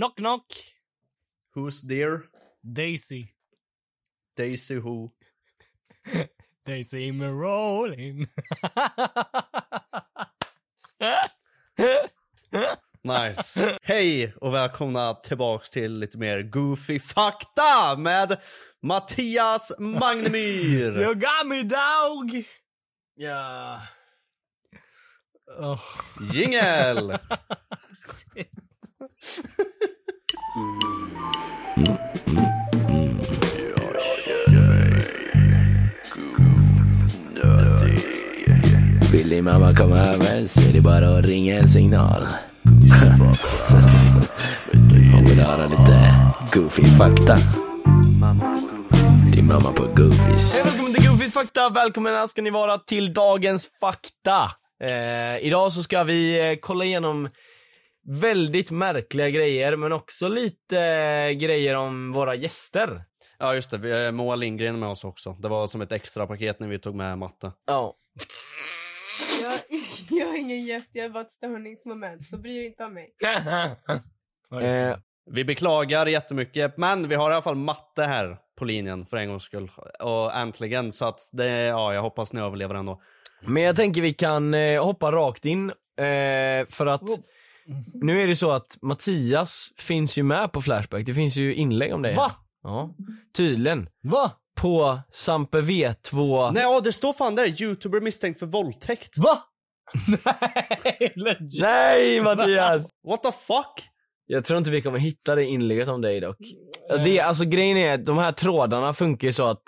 Knock knock, Who's there? Daisy. Daisy who? They see me rolling. Nice. Hej och välkomna tillbaks till lite mer goofy fakta med Mattias Magnemyr. You got me dog! Ja. Oh, Jingel! Vill din mamma komma över så är det bara att ringa en signal. Hon vill höra lite goofy fakta. Din mamma på goofies. Hej välkommen till Goofys fakta, välkomna ska ni vara till dagens fakta. Eh, idag så ska vi eh, kolla igenom väldigt märkliga grejer men också lite eh, grejer om våra gäster. Ja just det, vi har Moa Lindgren med oss också. Det var som ett extra paket när vi tog med matte. Ja. Jag, jag är ingen gäst, jag är bara ett störningsmoment, så bry dig inte om mig. Eh, Vi beklagar jättemycket, men vi har i alla fall matte här på linjen för en gångs skull. Och äntligen, så att det, ja jag hoppas ni överlever ändå. men jag tänker vi kan eh, hoppa rakt in eh, för att Oh. nu är det så att Mattias finns ju med på Flashback. Det finns ju inlägg om det. Va? Ja. Tydligen. Va? På Sampe V2. Nej, ja, det står fan där, youtuber misstänkt för våldtäkt. Va? Nej, legit. Nej Mattias! What the fuck? Jag tror inte vi kommer hitta det inlägget om dig dock. Det, är- alltså grejen är att de här trådarna funkar ju så att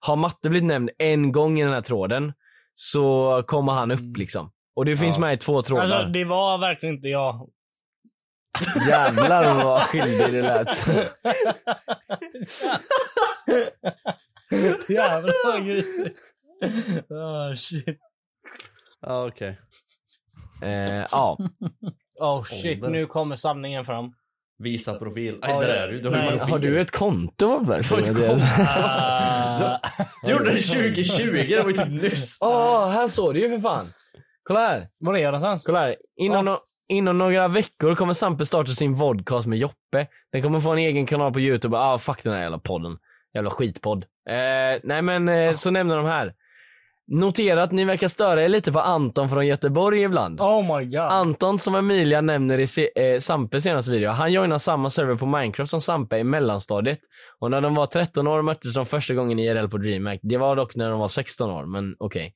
har matte blivit nämnd en gång i den här tråden så kommer han upp liksom. Och det finns Ja. med i två trådar. Alltså det var verkligen inte jag. Jävlar vad skyldig det lät. Jävlar vad grisigt. Oh shit. Ja okej. eh, ja. Oh shit, Ålder. nu kommer sanningen fram. Visa profil. Aj, Ja, där ja. är du. Du har Nej. ju profil. Har du ett konto varför? Ah. Du gjorde det 2020, det var ju typ nyss. Åh, här står det ju för fan. Kolla här. Var är jag någonstans? Kolla här. Inom, no- inom några veckor kommer Sampe starta sin vodcast med Joppe. Den kommer få en egen kanal på YouTube. Ah, fuck den här jävla podden. Jävla skitpodd. Eh, nej men eh, så nämner de här. Notera att ni verkar störa er lite på Anton från Göteborg ibland. Oh my god. Anton som Emilia nämner i se- eh, Sampes senaste video, han joinar samma server på Minecraft som Sampe i mellanstadiet. Och när de var 13 år möttes de första gången i IRL på DreamHack. Det var dock när de var 16 år, men okej.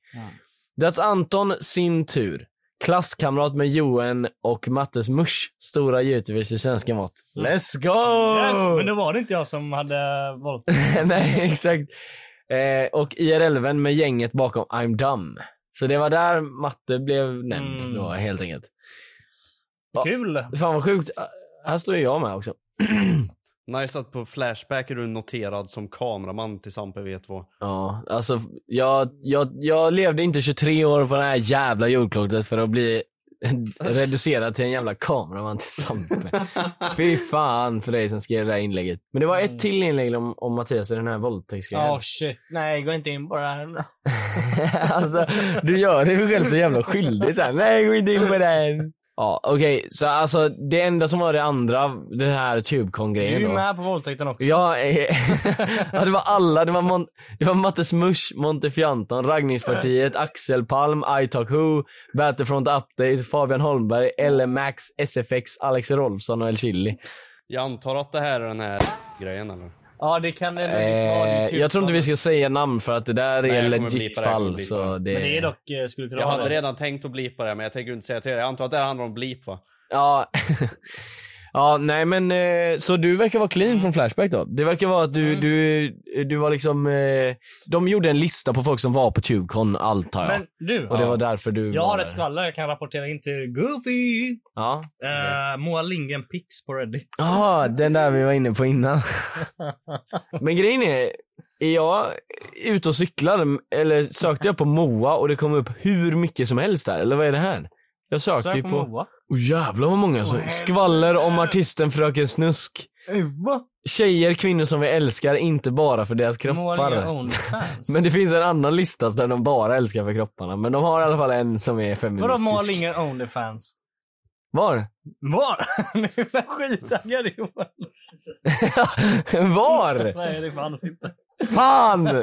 That's Anton sin tur. Klasskamrat med Johan och Mattes musch. Stora youtubers i svenska mått. Let's go! Yes, men då var det inte jag som hade valt. Nej, exakt. Eh, och IRL-vän med gänget bakom I'm Dumb. Så det var där matte blev nämnd Mm. då, helt enkelt. Kul. Fan vad sjukt. Här står ju jag med också. Nice att på Flashback är du noterad som kameraman till Sampe V2. Ja, alltså jag, jag, jag levde inte 23 år på det här jävla jordklotet för att bli reducerad till en jävla kameraman till Sampe. Fy fan för dig som skrev det här inlägget. Men det var ett till inlägg om, om Mattias i den här våldtäktsgrejen. Mm. Ja, shit. Nej, gå inte in på det här. alltså, du gör dig själv så jävla skyldig så här. Nej, gå inte in på den. Ja, okej. Så alltså det enda som var det andra, den här Du Tubecon-grejen är ju då. med på våldtäkten också. Ja, eh, ja, det var alla. Det var, Mon- det var Mattes Mush, Monte Fianton, Raggningspartiet, Axel Palm, I Talk Who, Battlefront Update, Fabian Holmberg, LMAX, SFX, Alex Rolfsson och El Chili. Jag antar att det här är den här grejen eller? Ja, det kan det typ Eh, jag tror inte vi ska säga namn för att det där typ Nej, är jag kommer legit blipa det, jag kommer fall. blipa Så det. det... Men det är dock, eh, skulle kunna Jag vara hade det. redan tänkt att blipa det men jag tänker inte säga till det. Jag antar att det här handlar om blip va? Ja. ja, nej men eh, så du verkar vara clean från Flashback då? Det verkar vara att du, Mm. du, du var liksom, eh, de gjorde en lista på folk som var på Tubecon antar jag. Men du, Och det var därför du jag var har där. ett skvaller jag kan rapportera in till Goofy. Ja. Eh, Moa Lindgren Pix på Reddit. Ja, den där vi var inne på innan. Men grejen är, är jag ute och cyklar, eller sökte jag på Moa och det kom upp hur mycket som helst där? Eller vad är det här? Jag sökte Sök ju på på... Moa. Oh, jävlar vad många som... Skvaller om artisten Fröken Snusk. Tjejer, kvinnor som vi älskar, inte bara för deras Moa Lindgren kroppar. Onlyfans. Men det finns en annan lista där de bara älskar för kropparna. Men de har i alla fall en som är Vadå Moa feministisk. Lindgren Onlyfans? Var? Var? Nu är jag skittaggad Johan. Var? Nej, det fanns inte. Fan!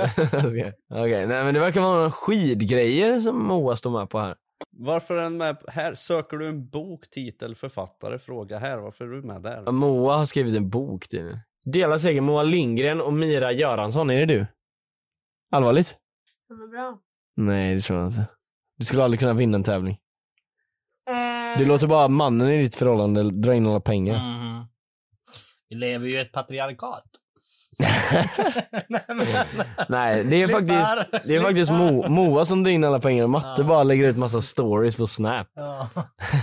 Okej, nej men det verkar vara några skidgrejer som Moa står med på här. Varför är den med här? Söker du en bok, titel, författare, fråga här. Varför är du med där? Mm. Ja, Moa har skrivit en bok till nu. Delar seger Moa Lindgren och Mira Göransson, är det du? Allvarligt? Stämmer bra. Nej, det tror jag inte. Du skulle aldrig kunna vinna en tävling. Eh, Du låter bara mannen i ditt förhållande dra in alla pengar. Mhm. Vi lever ju i ett patriarkat. Nej, men, Nej, det är Klipp faktiskt, här. det är Klipp faktiskt här. Mo, Moa som drar in alla pengar och Matte bara lägger ut massa stories på Snap. Ja,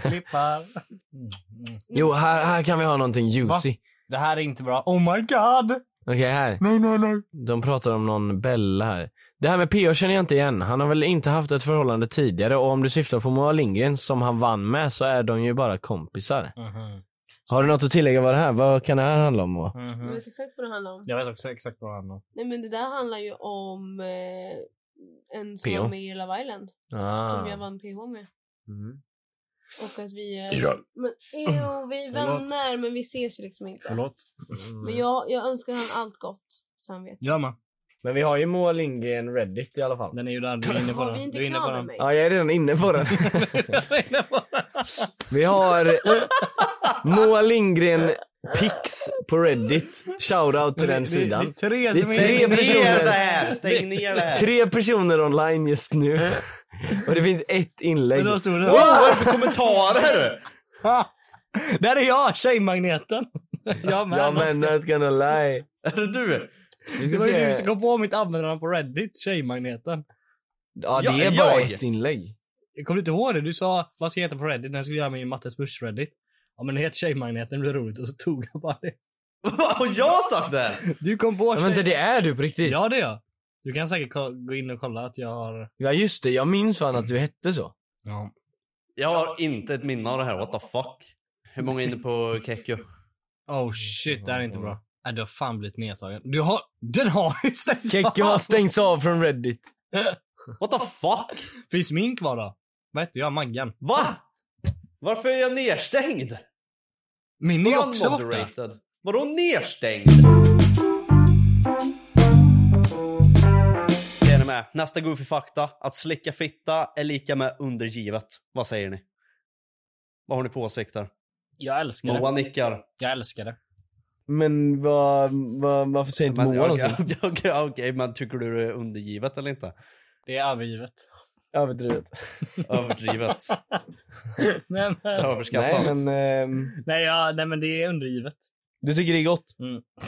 klipp här. Mm, mm. Jo, här, här kan vi ha någonting juicy. Det här är inte bra. Oh my god! Okej, här. Nej, nej, nej. De pratar om någon Bella här. Det här med PH känner jag inte igen. Han har väl inte haft ett förhållande tidigare och om du syftar på Moa Lindgren som han vann med så är de ju bara kompisar. Mm-hmm. Har du något att tillägga vad det här, vad kan det här handla om Moa? Jag vet exakt vad det handlar om. Jag vet också exakt vad det handlar om. Nej men det där handlar ju om eh, en som PH. var med i Love Island. Ah. Som jag vann PH med. Mm. Och att vi... Eh, Ja. men, jo, vi är Förlåt. vänner men vi ses ju liksom inte. Förlåt. Men jag, jag önskar han allt gott. Så han vet. Gör man. Men vi har ju Moa Lindgren Reddit i alla fall. Den är ju där. Du är inne på Har den. vi inte Du är inne på klar med den. mig? Ja, jag är redan inne på den. Vi har Moa Lindgren Pix på Reddit. Shoutout till den sidan. Det är tre Det är som tre inne. personer. det här! Stäng ner det här! Tre personer online just nu. Och det finns ett inlägg. Eh. Men då stod det- Wow, vad är det för kommentarer? Ha! Där är jag, tjejmagneten. Jag med. Ja men not gonna lie. är det du? Vi Det ska var ju du se. som kom på mitt användarnamn på Reddit, tjejmagneten. Ja det Ja, är bara jag. ett inlägg. Jag kommer inte ihåg det. Du sa, vad ska jag heta på Reddit när jag skulle göra min Mattes Busch Reddit? Ja men det heter tjejmagneten, det blir roligt. Och så tog jag bara det. Har jag sagt det? här? Du kom på Ja, vänta det är du på riktigt? Ja det är jag. Du kan säkert ko- gå in och kolla att jag har... Ja just det, jag minns fan att du hette så. Ja. Jag har inte ett minne av det här, what the fuck? Hur många är inne på Kekko? Oh shit, det här är inte bra. Nej, du har fan blivit nedtagen. Du har... Den har ju stängt Kekki har stängts av från Reddit. What the fuck? Finns min kvar då? Vad hette jag? Maggan? Va? Varför är jag nedstängd? Min är också borta. Unmoderated. Vadå nedstängd? Det är ni med. Nästa goofy fakta. Att slicka fitta är lika med undergivet. Vad säger ni? Vad har ni på åsikter? Jag älskar Moa det. nickar. Jag älskar det. Men vad, vad, varför säger inte Men, Moa okej, någonting? okej, okej, okej, men tycker du det är undergivet eller inte? Det är övergivet. Överdrivet. Överdrivet. nej, Det är men, eh, överskattat. Nej men, ehm, nej, ja, nej men det är undergivet. du Mm. tycker det är gott?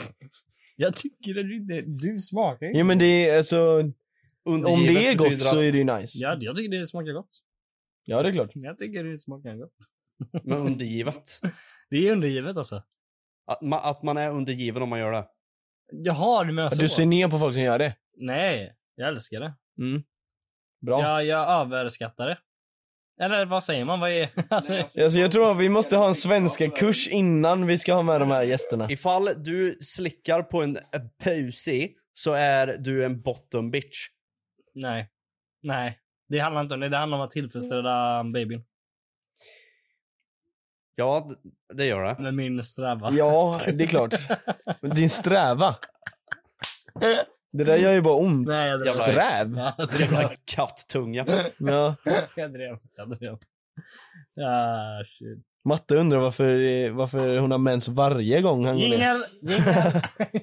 Jag tycker att du inte... Du smakar ju. Jo men det är alltså, om Undergivet det är gott betyder så att- är det ju nice. Ja, jag tycker det smakar gott. Ja det är klart. Jag tycker det smakar gott. Men undergivet. Det är undergivet alltså. Att man, att man är undergiven om man gör det. Jaha, du menar så? Du ser ner på folk som gör det. Nej, jag älskar det. Bra. Jag, jag överskattar det. Eller vad säger man? Vad är... Alltså, Alltså, jag tror att vi måste ha en svenska kurs innan vi ska ha med de här gästerna. Ifall du slickar på en pusi så är du en bottom bitch. Nej. Nej. Det handlar inte om det. Det handlar om att tillfredsställa babyn. Ja, d- det gör det. Med min sträva. Ja, det är klart. Men Din sträva. Det där gör ju bara ont. Nej, jag drar. Sträv? Ja, jag Jävla drev. kattunga. Ja. Jag drev. Jag drev. Ah, shit. Matte undrar varför, varför hon har mens varje gång han går ner. Jingel! Jingel!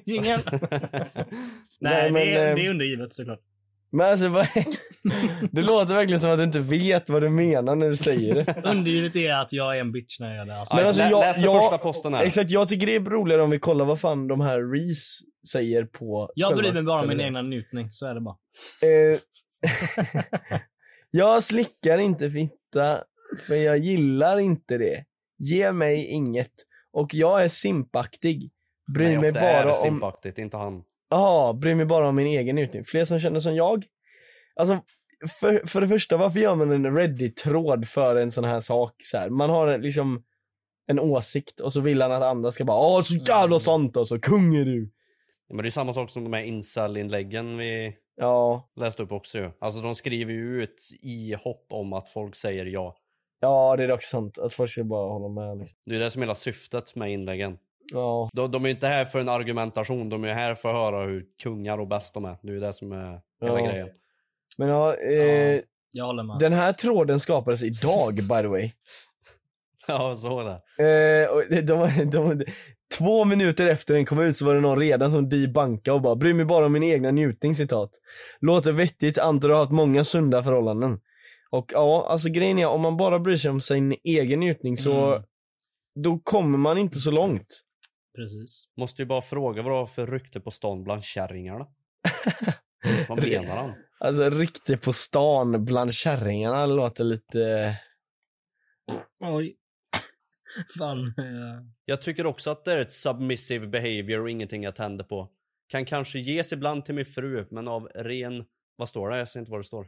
Jingel! Nej, Nej, men, det, är, eh, det är undergivet såklart. Men alltså, vad... det låter verkligen som att du inte vet vad du menar när du säger det. Undergivet är att jag är en bitch när jag gör det. Alltså, Men Ja, alltså, lä- jag- läs den jag- första posten här. Exakt, jag tycker det är roligare om vi kollar vad fan de här Reese säger på jag bryr själva mig bara om min stället. egna njutning. Så är det bara. Eh, jag slickar inte fitta, för jag gillar inte det. Ge mig inget. Och jag är simpaktig. Bryr Nej, mig det är bara om... simpaktigt, inte han. Jaha, bryr mig bara om min egen njutning. Fler som känner som jag? Alltså, för, för det första, varför gör man en Reddit-tråd för en sån här sak? Så här? Man har en- liksom en åsikt och så vill han att andra ska bara Åh, så Mm. jävla sant alltså, kung är du. Men det är samma sak som de här incel-inläggen vi Ja, läste upp också ju. Alltså de skriver ju ut i hopp om att folk säger ja. ja det är dock sant att folk ska bara hålla med. Liksom. Det är det som är hela syftet med inläggen. Ja, De, de är ju inte här för en argumentation, de är här för att höra hur kungar och bäst de är. Det är ju det som är hela Ja. grejen. men ja, eh, Ja. Jag håller med. Den här tråden skapades idag by the way. Ja, jag såg det. Eh, och de, de, de, två minuter efter den kom ut så var det någon redan som debankade och bara “bryr mig bara om min egna njutning” citat. Låter vettigt, antar du har haft många sunda förhållanden. Och ja, alltså grejen är om man bara bryr sig om sin egen njutning så Mm. då kommer man inte så långt. Precis. Måste ju bara fråga vad du har för rykte på stan bland kärringarna. Vad menar han? Alltså riktigt på stan bland kärringarna låter lite... Oj. Fan. eh, Jag tycker också att det är ett submissive behavior och ingenting jag tänder på. Kan kanske ges ibland till min fru, men av ren... Vad står det? Jag ser inte vad det står.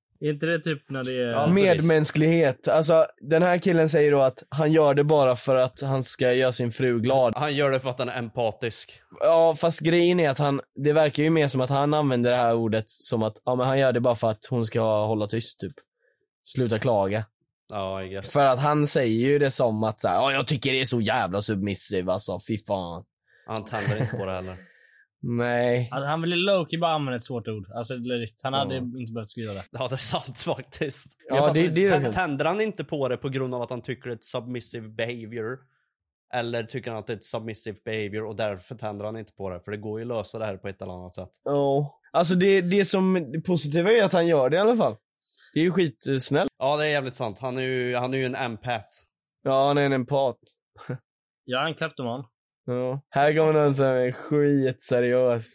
Är inte det typ när det är... Ja, men- Medmänsklighet. Alltså, den här killen säger då att han gör det bara för att han ska göra sin fru glad. Han gör det för att han är empatisk. Ja, fast grejen är att han, det verkar ju mer som att han använder det här ordet som att ja, men han gör det bara för att hon ska hålla tyst, typ. Sluta klaga. Ja, I guess. För att han säger ju det som att så här, ja, jag tycker det är så jävla submissive alltså, fy fan. Han tänder inte på det heller. Nej. Alltså, han ville Loki bara använda ett svårt ord. Alltså, legit. han hade Ja. inte behövt skriva det. Ja, det är sant faktiskt. Ja, Jag fattar det- inte. det är det Tän- kanske. Tänder han inte på det på grund av att han tycker det är ett submissive behavior? Eller tycker han att det är ett submissive behavior och därför tänder han inte på det? För det går ju att lösa det här på ett eller annat sätt. Ja. Alltså det, det som det positiva är att han gör det i alla fall. Det är ju skitsnällt. Ja, det är jävligt sant. Han är ju, han är ju en empath. Ja, han är en empat. Jag är en kleptoman. Ja. Här kommer någon som är skitseriös.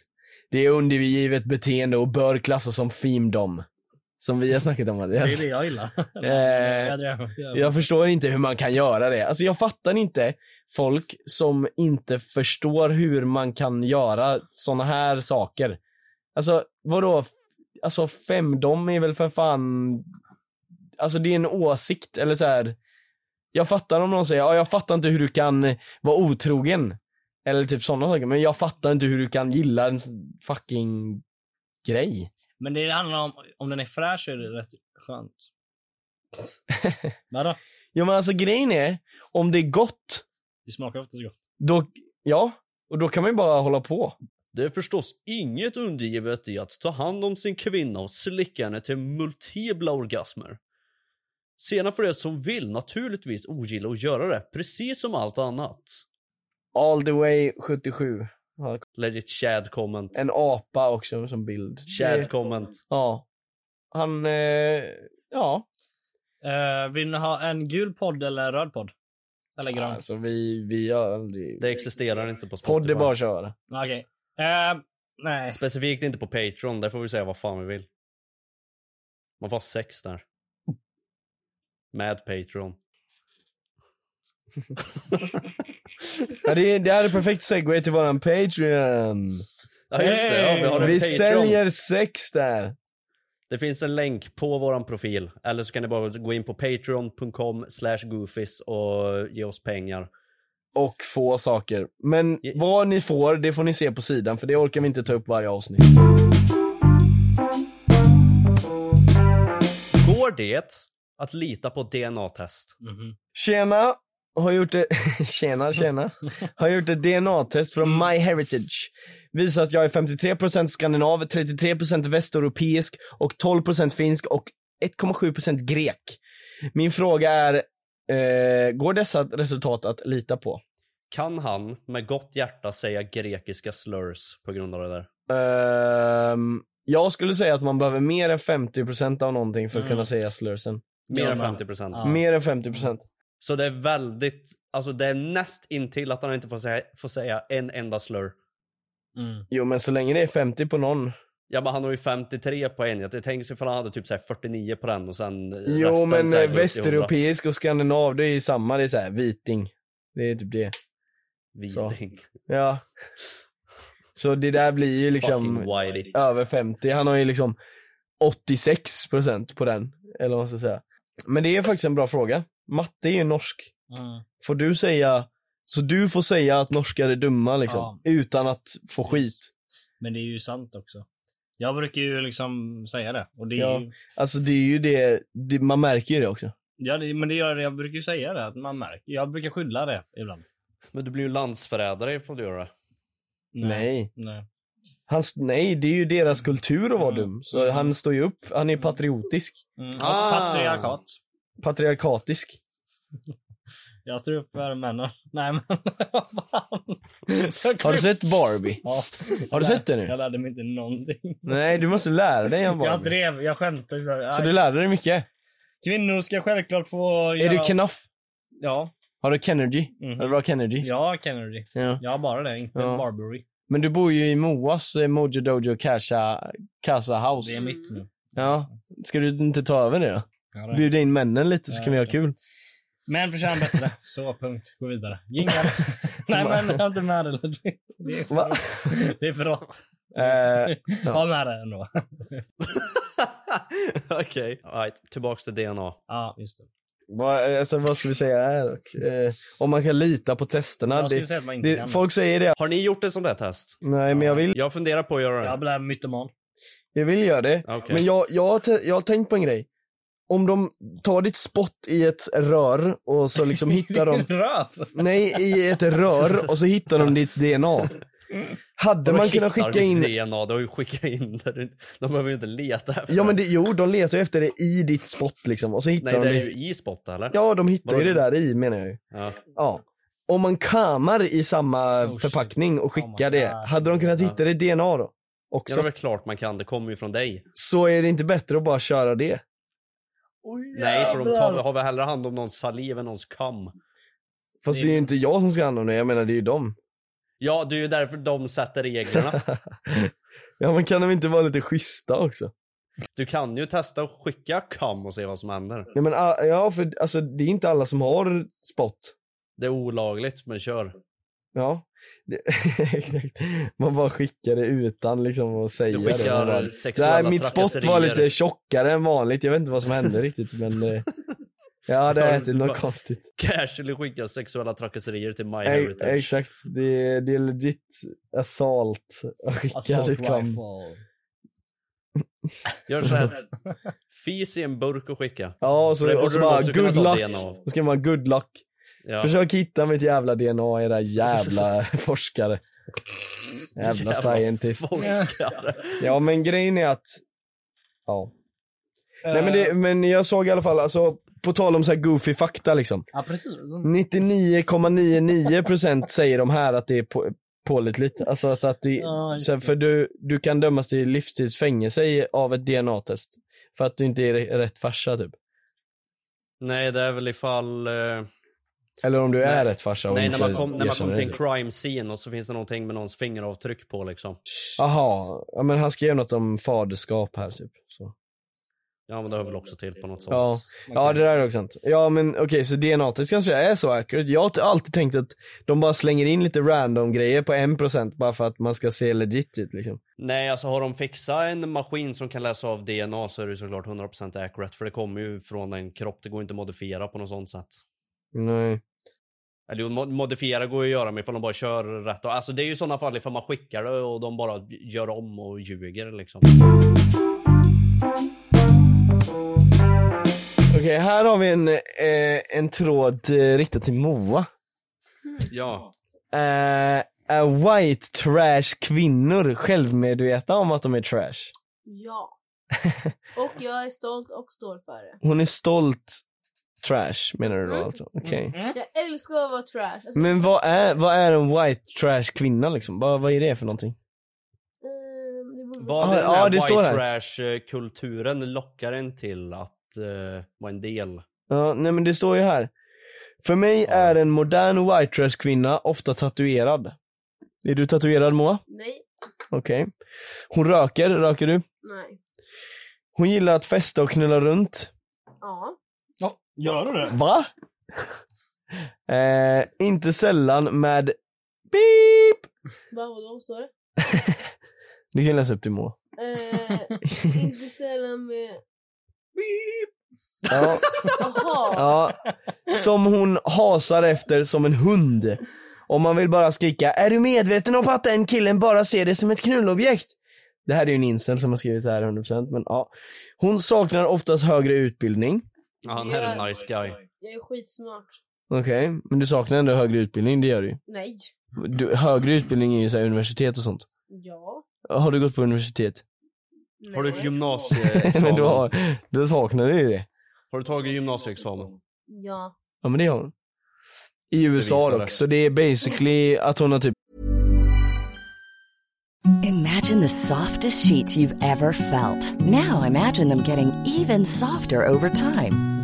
Det är undergivet beteende och bör klassas som fiendom. Som vi har snackat om Det Mattias. är det jag gillar. Eh, jag drev, jag, Jag förstår inte hur man kan göra det. Alltså jag fattar inte folk som inte förstår hur man kan göra såna här saker. Alltså vadå? Alltså femdom är väl för fan... Alltså det är en åsikt eller så här. Jag fattar om någon säger ja jag fattar inte hur du kan vara otrogen. Eller typ sådana saker. Men jag fattar inte hur du kan gilla en fucking grej. Men det handlar om, om den är fräsch så är det rätt skönt. Vadå? Ja men alltså grejen är, om det är gott, Det smakar oftast gott. då, ja, och då kan man ju bara hålla på. Det är förstås inget undergivet i att ta hand om sin kvinna och slicka henne till multipla orgasmer. Sedan får de som vill naturligtvis ogilla att göra det, precis som allt annat. All the way 77. Legit Chad comment. En apa också som bild. Chad Det- comment. Ja. Han, eh, ja. Eh, vill ni ha en gul podd eller en röd podd? Eller grön? Alltså vi, vi gör aldrig... Det existerar inte på Spotify. Podd är bara att köra. Okej. Eh, nej. Specifikt inte på Patreon, där får vi säga vad fan vi vill. Man får ha sex där. Med Patreon. Ja, det, det här är perfekt segway till våran Patreon. Ja just det, ja, vi har en Vi Patreon. säljer sex där. Det finns en länk på våran profil. Eller så kan ni bara gå in på patreon.com slash goofies och ge oss pengar. Och få saker. Men vad ni får, det får ni se på sidan för det orkar vi inte ta upp varje avsnitt. Går det att lita på DNA-test? Mm-hmm. Tjena, har gjort det. tjena, tjena. Har gjort ett DNA-test från MyHeritage. Visar att jag är 53% skandinav, 33% västeuropeisk och 12% finsk och 1,7% grek. Min fråga är, eh, går dessa resultat att lita på? Kan han med gott hjärta säga grekiska slurs på grund av det där? Ehm, jag skulle säga att man behöver mer än 50% av någonting för att Mm. kunna säga slursen. Mer än 50 procent. Mer än 50%. Så det är väldigt, alltså det är näst intill att han inte får säga, får säga en enda slur. Mm, Jo men så länge det är 50 på någon. Ja men han har ju 53 på en. Jag tänker sig ifall han hade typ så här 49 på den och sen eh, Jo resten men så eh, här upp till 100. västeuropeisk och skandinav det är ju samma, det är såhär viting. Det är typ det. Så. Viting. Ja. Så det där blir ju liksom Fucking whitey. över 50. Han har ju liksom 86% på den. Eller vad man ska säga. Men det är faktiskt en bra fråga. Matte är ju norsk. Mm. Får du säga, så du får säga att norskar är dumma liksom. Ja. Utan att få skit. Men det är ju sant också. Jag brukar ju liksom säga det. Och det är Ja. ju, Alltså det är ju det, det man märker ju det också. ja, det, men det gör, jag brukar ju säga det, att man märker. Jag brukar skylla det ibland. Men du blir ju landsförrädare ifall du gör det. Nej. Nej. Hans, nej, det är ju Mm. deras kultur att vara dum. Så han står ju upp, han är ju patriotisk. Mm. och Ah. Patriarkat. Patriarkatisk. Jag står upp för männen. Nej men. Har du sett Barbie? Ja. Har du sett det Jag nu? lärde mig inte någonting. Nej, du måste lära dig om Jag Barbie. drev, jag skämtade. Så, här, Så "Aj, du lärde dig mycket? Kvinnor ska självklart få... Är du göra- knuff? Ja. Har du Kennergy? Mhm. Har du bra Kennergy? Ja, Kennedy. Ja. Jag har bara det, inte Ja. Barbary. Men du bor ju i Moas eh, Mojo Dojo Casa, Casa House. Det är mitt nu. Ja. Ska du inte ta över det då? Ja, det är. Bjuda in männen lite så kan vi ha kul. Men förtjänar bättre. Så, punkt. Gå vidare. Jingel. Nej men, jag har inte med det. Ludvig. Det är för Va? rått. Det är för rått. Eh, Ha med det ändå. Okej. Alright, tillbaks till DNA. Ja, just det. vad, alltså, vad ska vi säga här? dock? Eh, om man kan lita på testerna. Jag skulle Det, säga att man inte det, kan. folk säger det. Har ni gjort ett sånt där test? Nej, men jag vill Jag funderar på att göra det. Jag blir mytoman. Jag vill göra det. Okej. Men jag, jag, har te- jag har tänkt på en grej. Om de tar ditt spott i ett rör och så liksom hittar de, Röv! nej i ett rör och så hittar de ditt DNA. Hade man kunnat hittar skicka in, ditt DNA, de har ju skickat in det. De behöver ju inte leta efter ja men det, jo de letar ju efter det i ditt spott liksom och så hittar Nej, de det är ju i spot eller? Ja de hittar ju det Vadå? där i menar jag ju. Ja. Ja. Om man kamar i samma shit. förpackning och Oh my skickar det, God. hade de kunnat hitta det i DNA då? Ja, det är Också. väl klart man kan, det kommer ju från dig. Så är det inte bättre att bara köra det? Nej, för de tar, har väl hellre hand om någons saliv än någons kam. Fast det är ju inte jag som ska ha hand om det, jag menar det är ju dem. Ja, det är ju därför de sätter reglerna. Ja men kan de inte vara lite schyssta också? Du kan ju testa att skicka kam och se vad som händer. Nej men ah, ja för alltså det är inte alla som har spott. Det är olagligt, men kör. Ja. Det- exakt. Man bara skickar det utan liksom att säga det. skickar Man bara, sexuella Nej mitt spott var trakasserier." lite tjockare än vanligt, jag vet inte vad som hände riktigt men eh, Ja, det har Hör ätit du något bara- konstigt. Casually skickar sexuella trakasserier till My E- Heritage. exakt, det är, det är legit assault att skicka Assault reklam. Gör så här. Fis i en burk och skicka. Ja, och Det så, borde och så du bara också kunna good ta luck. DNA av. Då ska man good luck. Ja. Försök hitta mitt jävla DNA, era jävla forskare. Jävla, Jävla scientist. forskare. Ja, men grejen är att... Ja. Eh, Nej, men, Eh. det, men jag såg i alla fall, alltså, på tal om så här goofy fakta liksom. Ja, precis. Mm. 99,99% säger de här att det är på, pålitligt. Alltså att, att det, Ja, just så här, för du, du kan dömas till livstids fängelse i- av ett DNA-test. För att du inte är re- rätt farsa typ. Nej, det är väl ifall... eh, Eller om du är Nej. rätt farsa och Nej, inte när man kommer kom erkänner till en det. crime scene och så finns det någonting med någons fingeravtryck på liksom. Jaha, ja, men han skrev något om faderskap här typ. Så. Ja, men det hör väl också till på något sånt. Ja. ja, det Eh, där är också sant. Ja men okej, så DNA-test kanske är så accurate. Jag har t- alltid tänkt att de bara slänger in lite random grejer på 1% bara för att man ska se legit ut liksom. Nej, alltså har de fixat en maskin som kan läsa av DNA så är det ju såklart 100% accurate för det kommer ju från en kropp, det går inte att modifiera på något sånt sätt. Nej. Eller jo, mo- modifiera går ju att göra men ifall de bara kör rätt. Och- Alltså det är ju i sådana fall ifall man skickar det och de bara gör om och ljuger liksom. Okej, här har vi en, eh, en tråd eh, riktad till Moa. Ja. Eh, är white trash kvinnor självmedvetna om att de är trash? Ja. Och jag är stolt och står för det. Hon är stolt trash menar du då alltså? Okej. Jag älskar att vara trash. Alltså, Men vad är, vad är en white trash kvinna liksom? Vad, vad är det för någonting? ehm, det borde vara Vad Ja, den ja, här det står white här. trash-kulturen lockar en till att eh, vara en del. Ja, nej men det står ju här. För mig är en modern white trash kvinna ofta tatuerad. Är du tatuerad Moa? Nej. Okej. Hon röker, röker du? Nej. Hon gillar att festa och knulla runt. Ja. Ja, gör du det? Va? eh, inte sällan med beep. Vad vadå, står det? Du kan läsa upp det Moa. Eh, inte sällan med... Ja. Jaha. ja. Som hon hasar efter som en hund. Om man vill bara skrika Är du medveten om att den killen bara ser dig som ett knullobjekt? Det här är ju en incel som har skrivit det här 100% men ja. Hon saknar oftast högre utbildning. Ja, han är en nice guy. Jag är skitsmart. Okej, men du saknar ändå högre utbildning, det gör du ju. Nej. du Högre utbildning är ju så här universitet och sånt. Ja. Har du gått på universitet? Har du ett men du, gymnasieexamen? har, du saknar ju det. Har du tagit gymnasieexamen? Ja. Ja men det har hon. I USA Bevisar dock, det. så det är basically att hon har typ Imagine the softest sheets you've ever felt. Now imagine them getting even softer over time.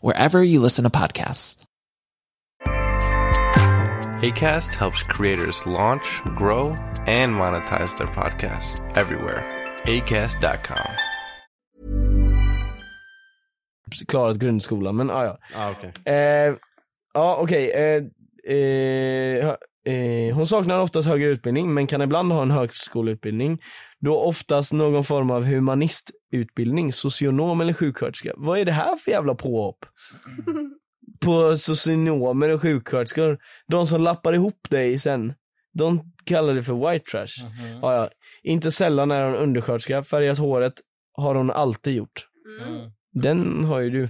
wherever you listen to podcasts. ACAST helps creators launch, grow, and monetize their podcasts everywhere. ACAST.com. klarat grundskolan men ah, ja. Ah, okej. Eh, ja okej. Eh, eh, hö- eh, hon saknar oftast högre utbildning men kan ibland ha en högskoleutbildning. Då oftast någon form av humanistutbildning, socionom eller sjuksköterska. Vad är det här för jävla påhopp? På socionomer och sjuksköterskor. De som lappar ihop dig sen De kallar det för white trash. Mm. Mm-hmm. Ja, ja. Inte sällan är hon undersköterska, färgat håret har hon alltid gjort. Mm. Den har ju du.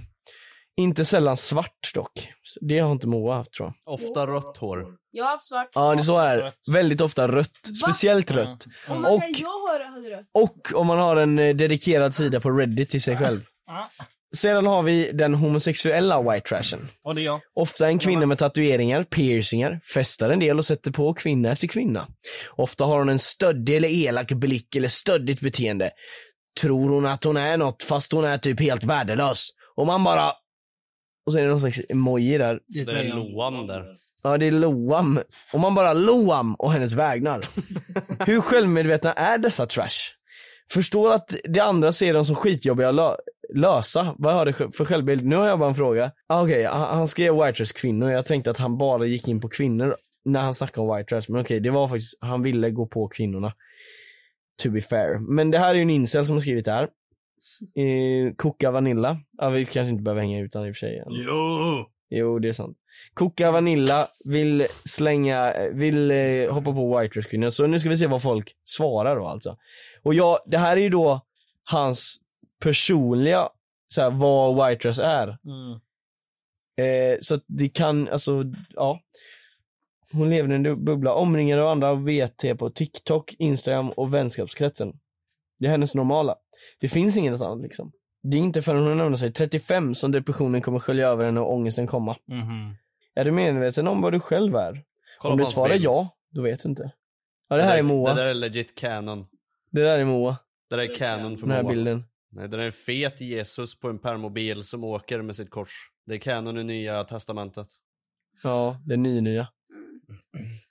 Inte sällan svart dock. Det har inte Moa haft tror jag. Ofta rött hår. Jag har svart Ja, det är så är det. Väldigt ofta rött. Speciellt rött. Om man Och, säger jag har hade rött. och om man har en eh, dedikerad sida på Reddit till sig själv. Ah. Sedan har vi den homosexuella white trashen. Och det är jag. Ofta en kvinna med tatueringar, piercingar, festar en del och sätter på kvinna efter kvinna. Ofta har hon en stöddig eller elak blick eller stöddigt beteende. Tror hon att hon är något fast hon är typ helt värdelös. Och man bara... Och så är det någon slags emoji där. Det är Loam där. Ja, det är Loam. Om man bara Loam och hennes vägnar. Hur självmedvetna är dessa trash? Förstår att de andra ser dem som skitjobbiga att lö- lösa. Vad har det för självbild? Nu har jag bara en fråga. Ah, Okej, han han skrev white trash kvinnor. Jag tänkte att han bara gick in på kvinnor när han snackade om white trash. Men okej, det var faktiskt, han ville gå på kvinnorna. To be fair. Men det här är ju en incel som har skrivit det här. Eh, koka vanilla. Ja, vi kanske inte behöver hänga ut han i och för sig. Jo! Jo, det är sant. Koka Vanilla vill slänga, vill eh, hoppa på White Trash Queen. Så nu ska vi se vad folk svarar då alltså. Och ja, det här är ju då hans personliga, så här, vad White Trash är. Eh, så att det kan, alltså, ja. Hon lever i en du- bubbla, omringad av andra av VT på TikTok, Instagram och vänskapskretsen. Det är hennes normala. Det finns inget annat liksom. Det är inte förrän hon närmar sig 35 som depressionen kommer skölja över henne och ångesten komma. Mm-hmm. Är du medveten om vad du själv är? Kolla om du på hans svarar bild. ja, då vet du inte. Ja, det här där- är Moa. Det där är legit canon. Det där är Moa. Det där är canon för Den här Moa. bilden. Nej, det där är en fet Jesus på en permobil som åker med sitt kors. Det är canon i nya testamentet. Ja, det är ny-nya.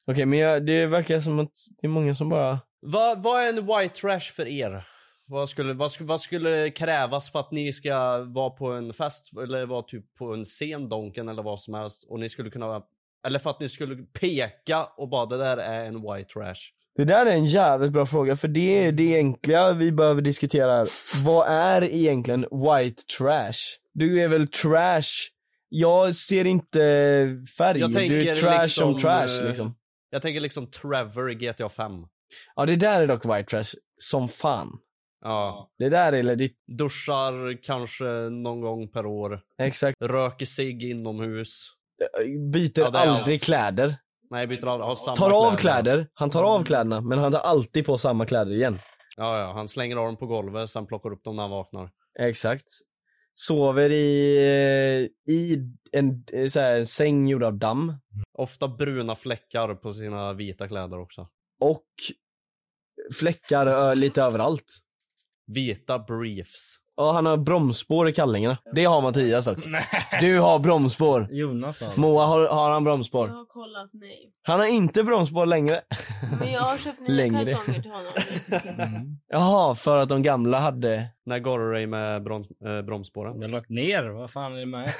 Okej, men jag, det verkar som att det är många som bara... Va, vad är en white trash för er? Vad skulle, vad, skulle, vad skulle krävas för att ni ska vara på en fest eller vara typ på en scen Donken eller vad som helst och ni skulle kunna, eller för att ni skulle peka och bara det där är en white trash. Det där är en jävligt bra fråga, för det är det egentliga vi behöver diskutera här. Vad är egentligen white trash? Du är väl trash? Jag ser inte färg. Jag du är tänker trash liksom, som trash eh, liksom. Jag tänker liksom Trevor i GTA 5. Ja, det där är dock white trash som fan. Ja. Det där är legit. Duschar kanske någon gång per år. Exakt. Röker sig inomhus. Byter Ja, det är aldrig allt. kläder. Nej, byter aldrig. Har samma Mm. Tar av kläder. Han tar av kläderna, men han tar alltid på samma kläder igen. Ja, ja. Han slänger av dem på golvet, sen plockar upp dem när han vaknar. Exakt. Sover i, eh, i en, eh, så här, en säng gjord av damm. Ofta bruna fläckar på sina vita kläder också. Och fläckar ö, lite överallt. Vita briefs. Ja, han har bromsspår i kallingarna. Det har Mattias dock. Du har bromsspår. Jonas har. Moa, har, har han bromsspår? Jag har kollat, nej. Han har inte bromsspår längre. Men jag har köpt nya Längre. kalsonger till honom. Jaha, för att de gamla hade... När går det dig med broms, eh, bromsspåren? Jag har lagt ner. Vad fan är det med?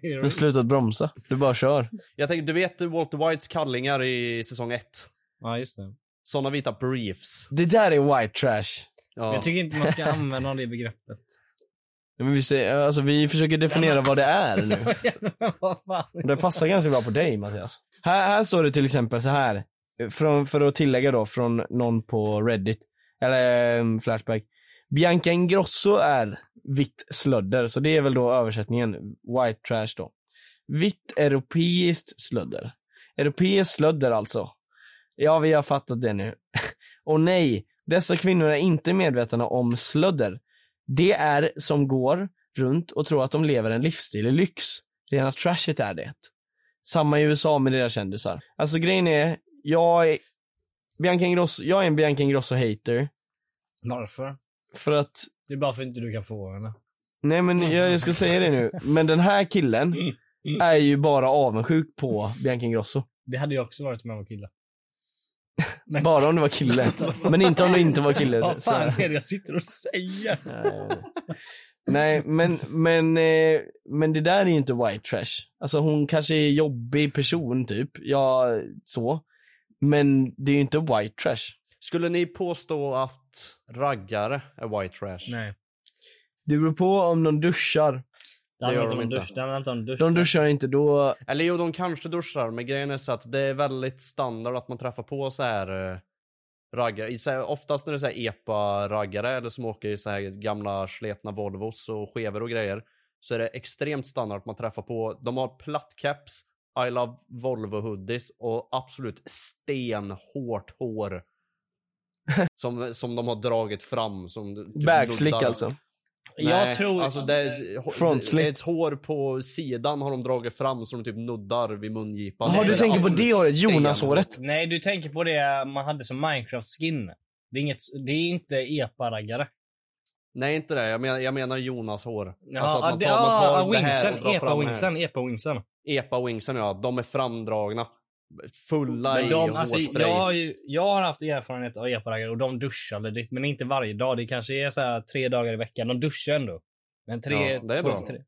Du har slutat bromsa. Du bara kör. Jag tänker, du vet Walter Whites kallingar i säsong 1? Ja, just det. Såna vita briefs. Det där är white trash. Ja. Jag tycker inte man ska använda det begreppet. Men vi, ser, alltså, vi försöker definiera vad det är nu. Vad fan? Det passar ganska bra på dig Mattias. Här, här står det till exempel så här. Från, för att tillägga då, från någon på Reddit. Eller eh, Flashback. Bianca Ingrosso är vitt slödder, så det är väl då översättningen. White trash då. Vitt europeiskt slödder. Europeiskt slödder alltså. Ja, vi har fattat det nu. Och nej, dessa kvinnor är inte medvetna om slödder. Det är som går runt och tror att de lever en livsstil i lyx. Rena trashet är det. Samma i USA med deras kändisar. Alltså grejen är, jag är, Bianca Ingrosso, jag är en Bianca Ingrosso-hater. Varför? För att, Det är bara för att inte du kan få henne. nej men jag, jag ska säga det nu, men den här killen är ju bara avundsjuk på Bianca Ingrosso. Det hade jag också varit om jag var kille. Bara om det var kille. Men inte om det inte var kille. Vad så fan här. är det jag sitter och säger? Eh, Nej, men, men, eh, men det där är ju inte white trash. Alltså hon kanske är en jobbig person typ, ja så. Men det är ju inte white trash. Skulle ni påstå att raggare är white trash? Nej. Det beror på om de duschar. Det handlar inte om dusch. Det handlar inte om dusch. De duschar inte då. Eller jo, de kanske duschar, men grejen är så att det är väldigt standard att man träffar på så här eh, raggare. Så här, oftast när det är så här epa-raggare eller som åker i så här gamla sletna Volvos och skevor och grejer så är det extremt standard att man träffar på. De har platt caps, I love Volvo hoodies och absolut stenhårt hår. som, som de har dragit fram. Som typ Backslick alltså? Nej, Jag tror- Alltså det är, Frontslick. det är ett hår på sidan har de dragit fram som de typ nuddar vid mungipan. Jaha, Så du är tänker på absolut det håret, Jonas-håret? Nej, du tänker på det eh, man hade som Minecraft-skin. Det är, inget, det är inte epa-raggare. Nej, inte det. Jag menar, jag menar Jonas hår. Ja, Alltså att man det- tar- man tar ja, det här wingsen, och drar fram epa-wingsen, här. epa-wingsen. Epa-wingsen, ja. De är framdragna. Fulla Men i de, alltså, hårspray. jag, har ju, jag har haft erfarenhet av epa-raggare och de duschar legit, men inte varje dag. Det kanske är så här tre dagar i veckan. De duschar ändå. Men tre... Ja, det är två bra. till tre.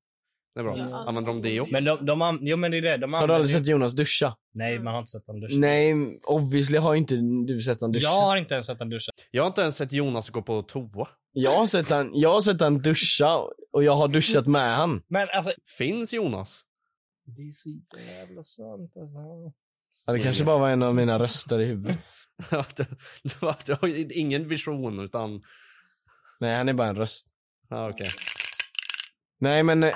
Det är bra. Ja. Använder de deo? Men de, de, an- jo, men det är det. De Har du använder aldrig ju- sett Jonas duscha? Nej, man har inte sett dem duscha. Nej, obviously har inte du sett han duscha. Jag har inte ens sett dem duscha. Jag har inte ens sett Jonas gå på toa. Jag har sett han, jag har sett han duscha och jag har duschat med han. Men alltså... Finns Jonas? Det är så jävla sant alltså. Ja, det kanske bara var en av mina röster i huvudet. Att det- det var- det var ingen vision utan... Nej, han är bara en röst. Ja, okej. Nej men eh,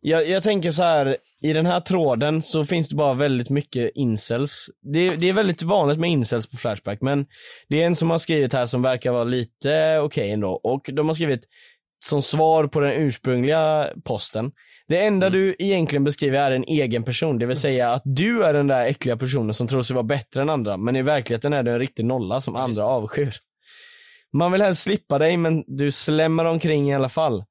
jag, jag tänker så här i den här tråden så finns det bara väldigt mycket incels. Det, det är väldigt vanligt med incels på Flashback men det är en som har skrivit här som verkar vara lite okej ändå och de har skrivit som svar på den ursprungliga posten. Det enda du egentligen beskriver är en egen person, det vill säga att du är den där äckliga personen som tror sig vara bättre än andra men i verkligheten är du en riktig nolla som andra avskyr. Man vill helst slippa dig men du slämmer omkring i alla fall.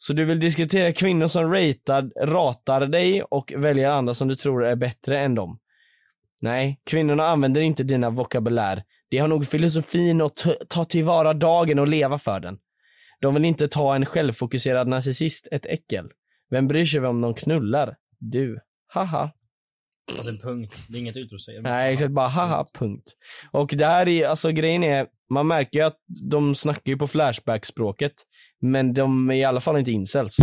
Så du vill diskutera kvinnor som ratar, ratar dig och väljer andra som du tror är bättre än dem. Nej, kvinnorna använder inte dina vokabulär. De har nog filosofin att t- ta tillvara dagen och leva för den. De vill inte ta en självfokuserad narcissist, ett äckel. Vem bryr sig om de knullar? Du. Haha. Alltså punkt. Det är inget utropstecken. Nej, exakt bara haha, punkt. Och det här är, alltså grejen är, man märker ju att de snackar ju på flashback-språket. Men de är i alla fall inte incels.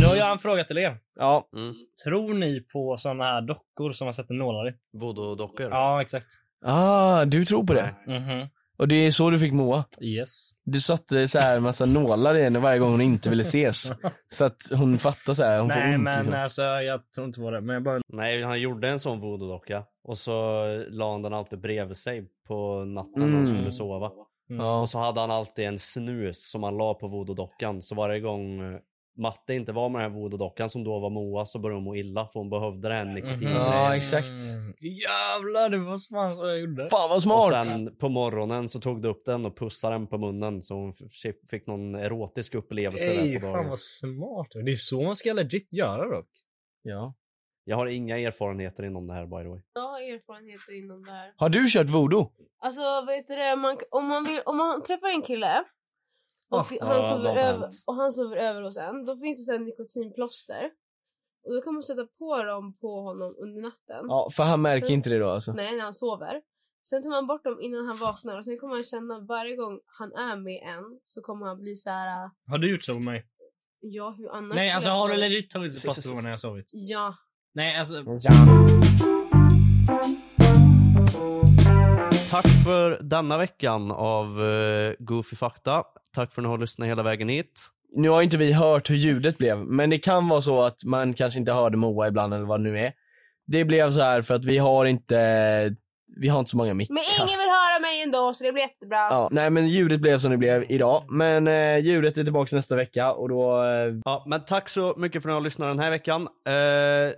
Nu har jag en fråga till er. Ja. Mm. Tror ni på såna här dockor som man sätter nålar i? Voodoo-dockor? Ja, exakt. Ah, du tror på det? Mhm. Och det är så du fick Moa? Yes. Du satte så här massa nålar i henne varje gång hon inte ville ses. Så att hon fattar så här, hon får Nej, ont men liksom. eh, alltså jag tror inte på det. Men jag bara... Nej, han gjorde en sån voodoo-docka och så eh, la han den alltid bredvid sig på natten när Mm. han skulle sova. Mm. Och så hade han alltid en snus som han la på voodoo-dockan. Så varje gång eh, Matte inte var med den här voodoo-dockan som då var Moa så började hon må illa för hon behövde det här nikotinen. Ja, exakt. Mm. Jävlar, det var smart jag gjorde. Fan vad Och sen på morgonen så tog du upp den och pussade den på munnen så hon f- fick någon erotisk upplevelse Ey, där på dagen. fan vad smart. Det är så man ska legit göra dock. Ja. Jag har inga erfarenheter inom det här by the way. Jag har erfarenheter inom det här. Har du kört voodoo? Alltså vet du det, man, om, man vill, om man träffar en kille och, Ah, han ja, sover något över, hänt. och han sover över hos en, då finns det så här nikotinplåster. Och då kan man sätta på dem på honom under natten. Ja, för han märker Sen- inte det då, alltså? Nej, när han sover. Sen tar man bort dem innan han vaknar och sen kommer han känna varje gång han är med en så kommer han bli så här. äh, Har du gjort så på mig? ja hur annars Nej, skulle alltså jag har du få- legit tagit ett plåster på mig när jag sovit? Ja. Nej, alltså... Tack för denna veckan av eh, Goofy Fakta. Tack för att ni har lyssnat hela vägen hit. Nu har inte vi hört hur ljudet blev, men det kan vara så att man kanske inte hörde Moa ibland eller vad det nu är. Det blev så här för att vi har inte, vi har inte så många mickar. Men ingen vill höra mig ändå så det blir jättebra. Ja, nej men ljudet blev som det blev idag. Men eh, ljudet är tillbaka nästa vecka och då... Eh... Ja, men tack så mycket för att ni har lyssnat den här veckan. Eh,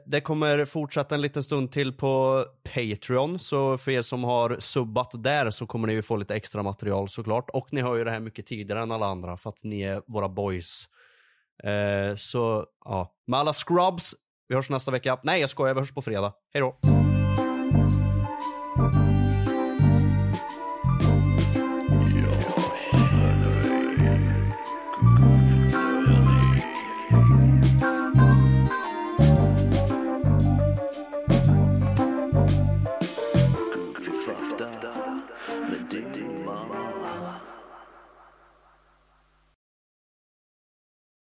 det kommer fortsätta en liten stund till på Patreon, så för er som har subbat där så kommer ni ju få lite extra material såklart. Och ni hör ju det här mycket tidigare än alla andra för att ni är våra boys. Eh, så ja, med alla scrubs, vi hörs nästa vecka. Nej jag skojar, vi hörs på fredag. Hej då!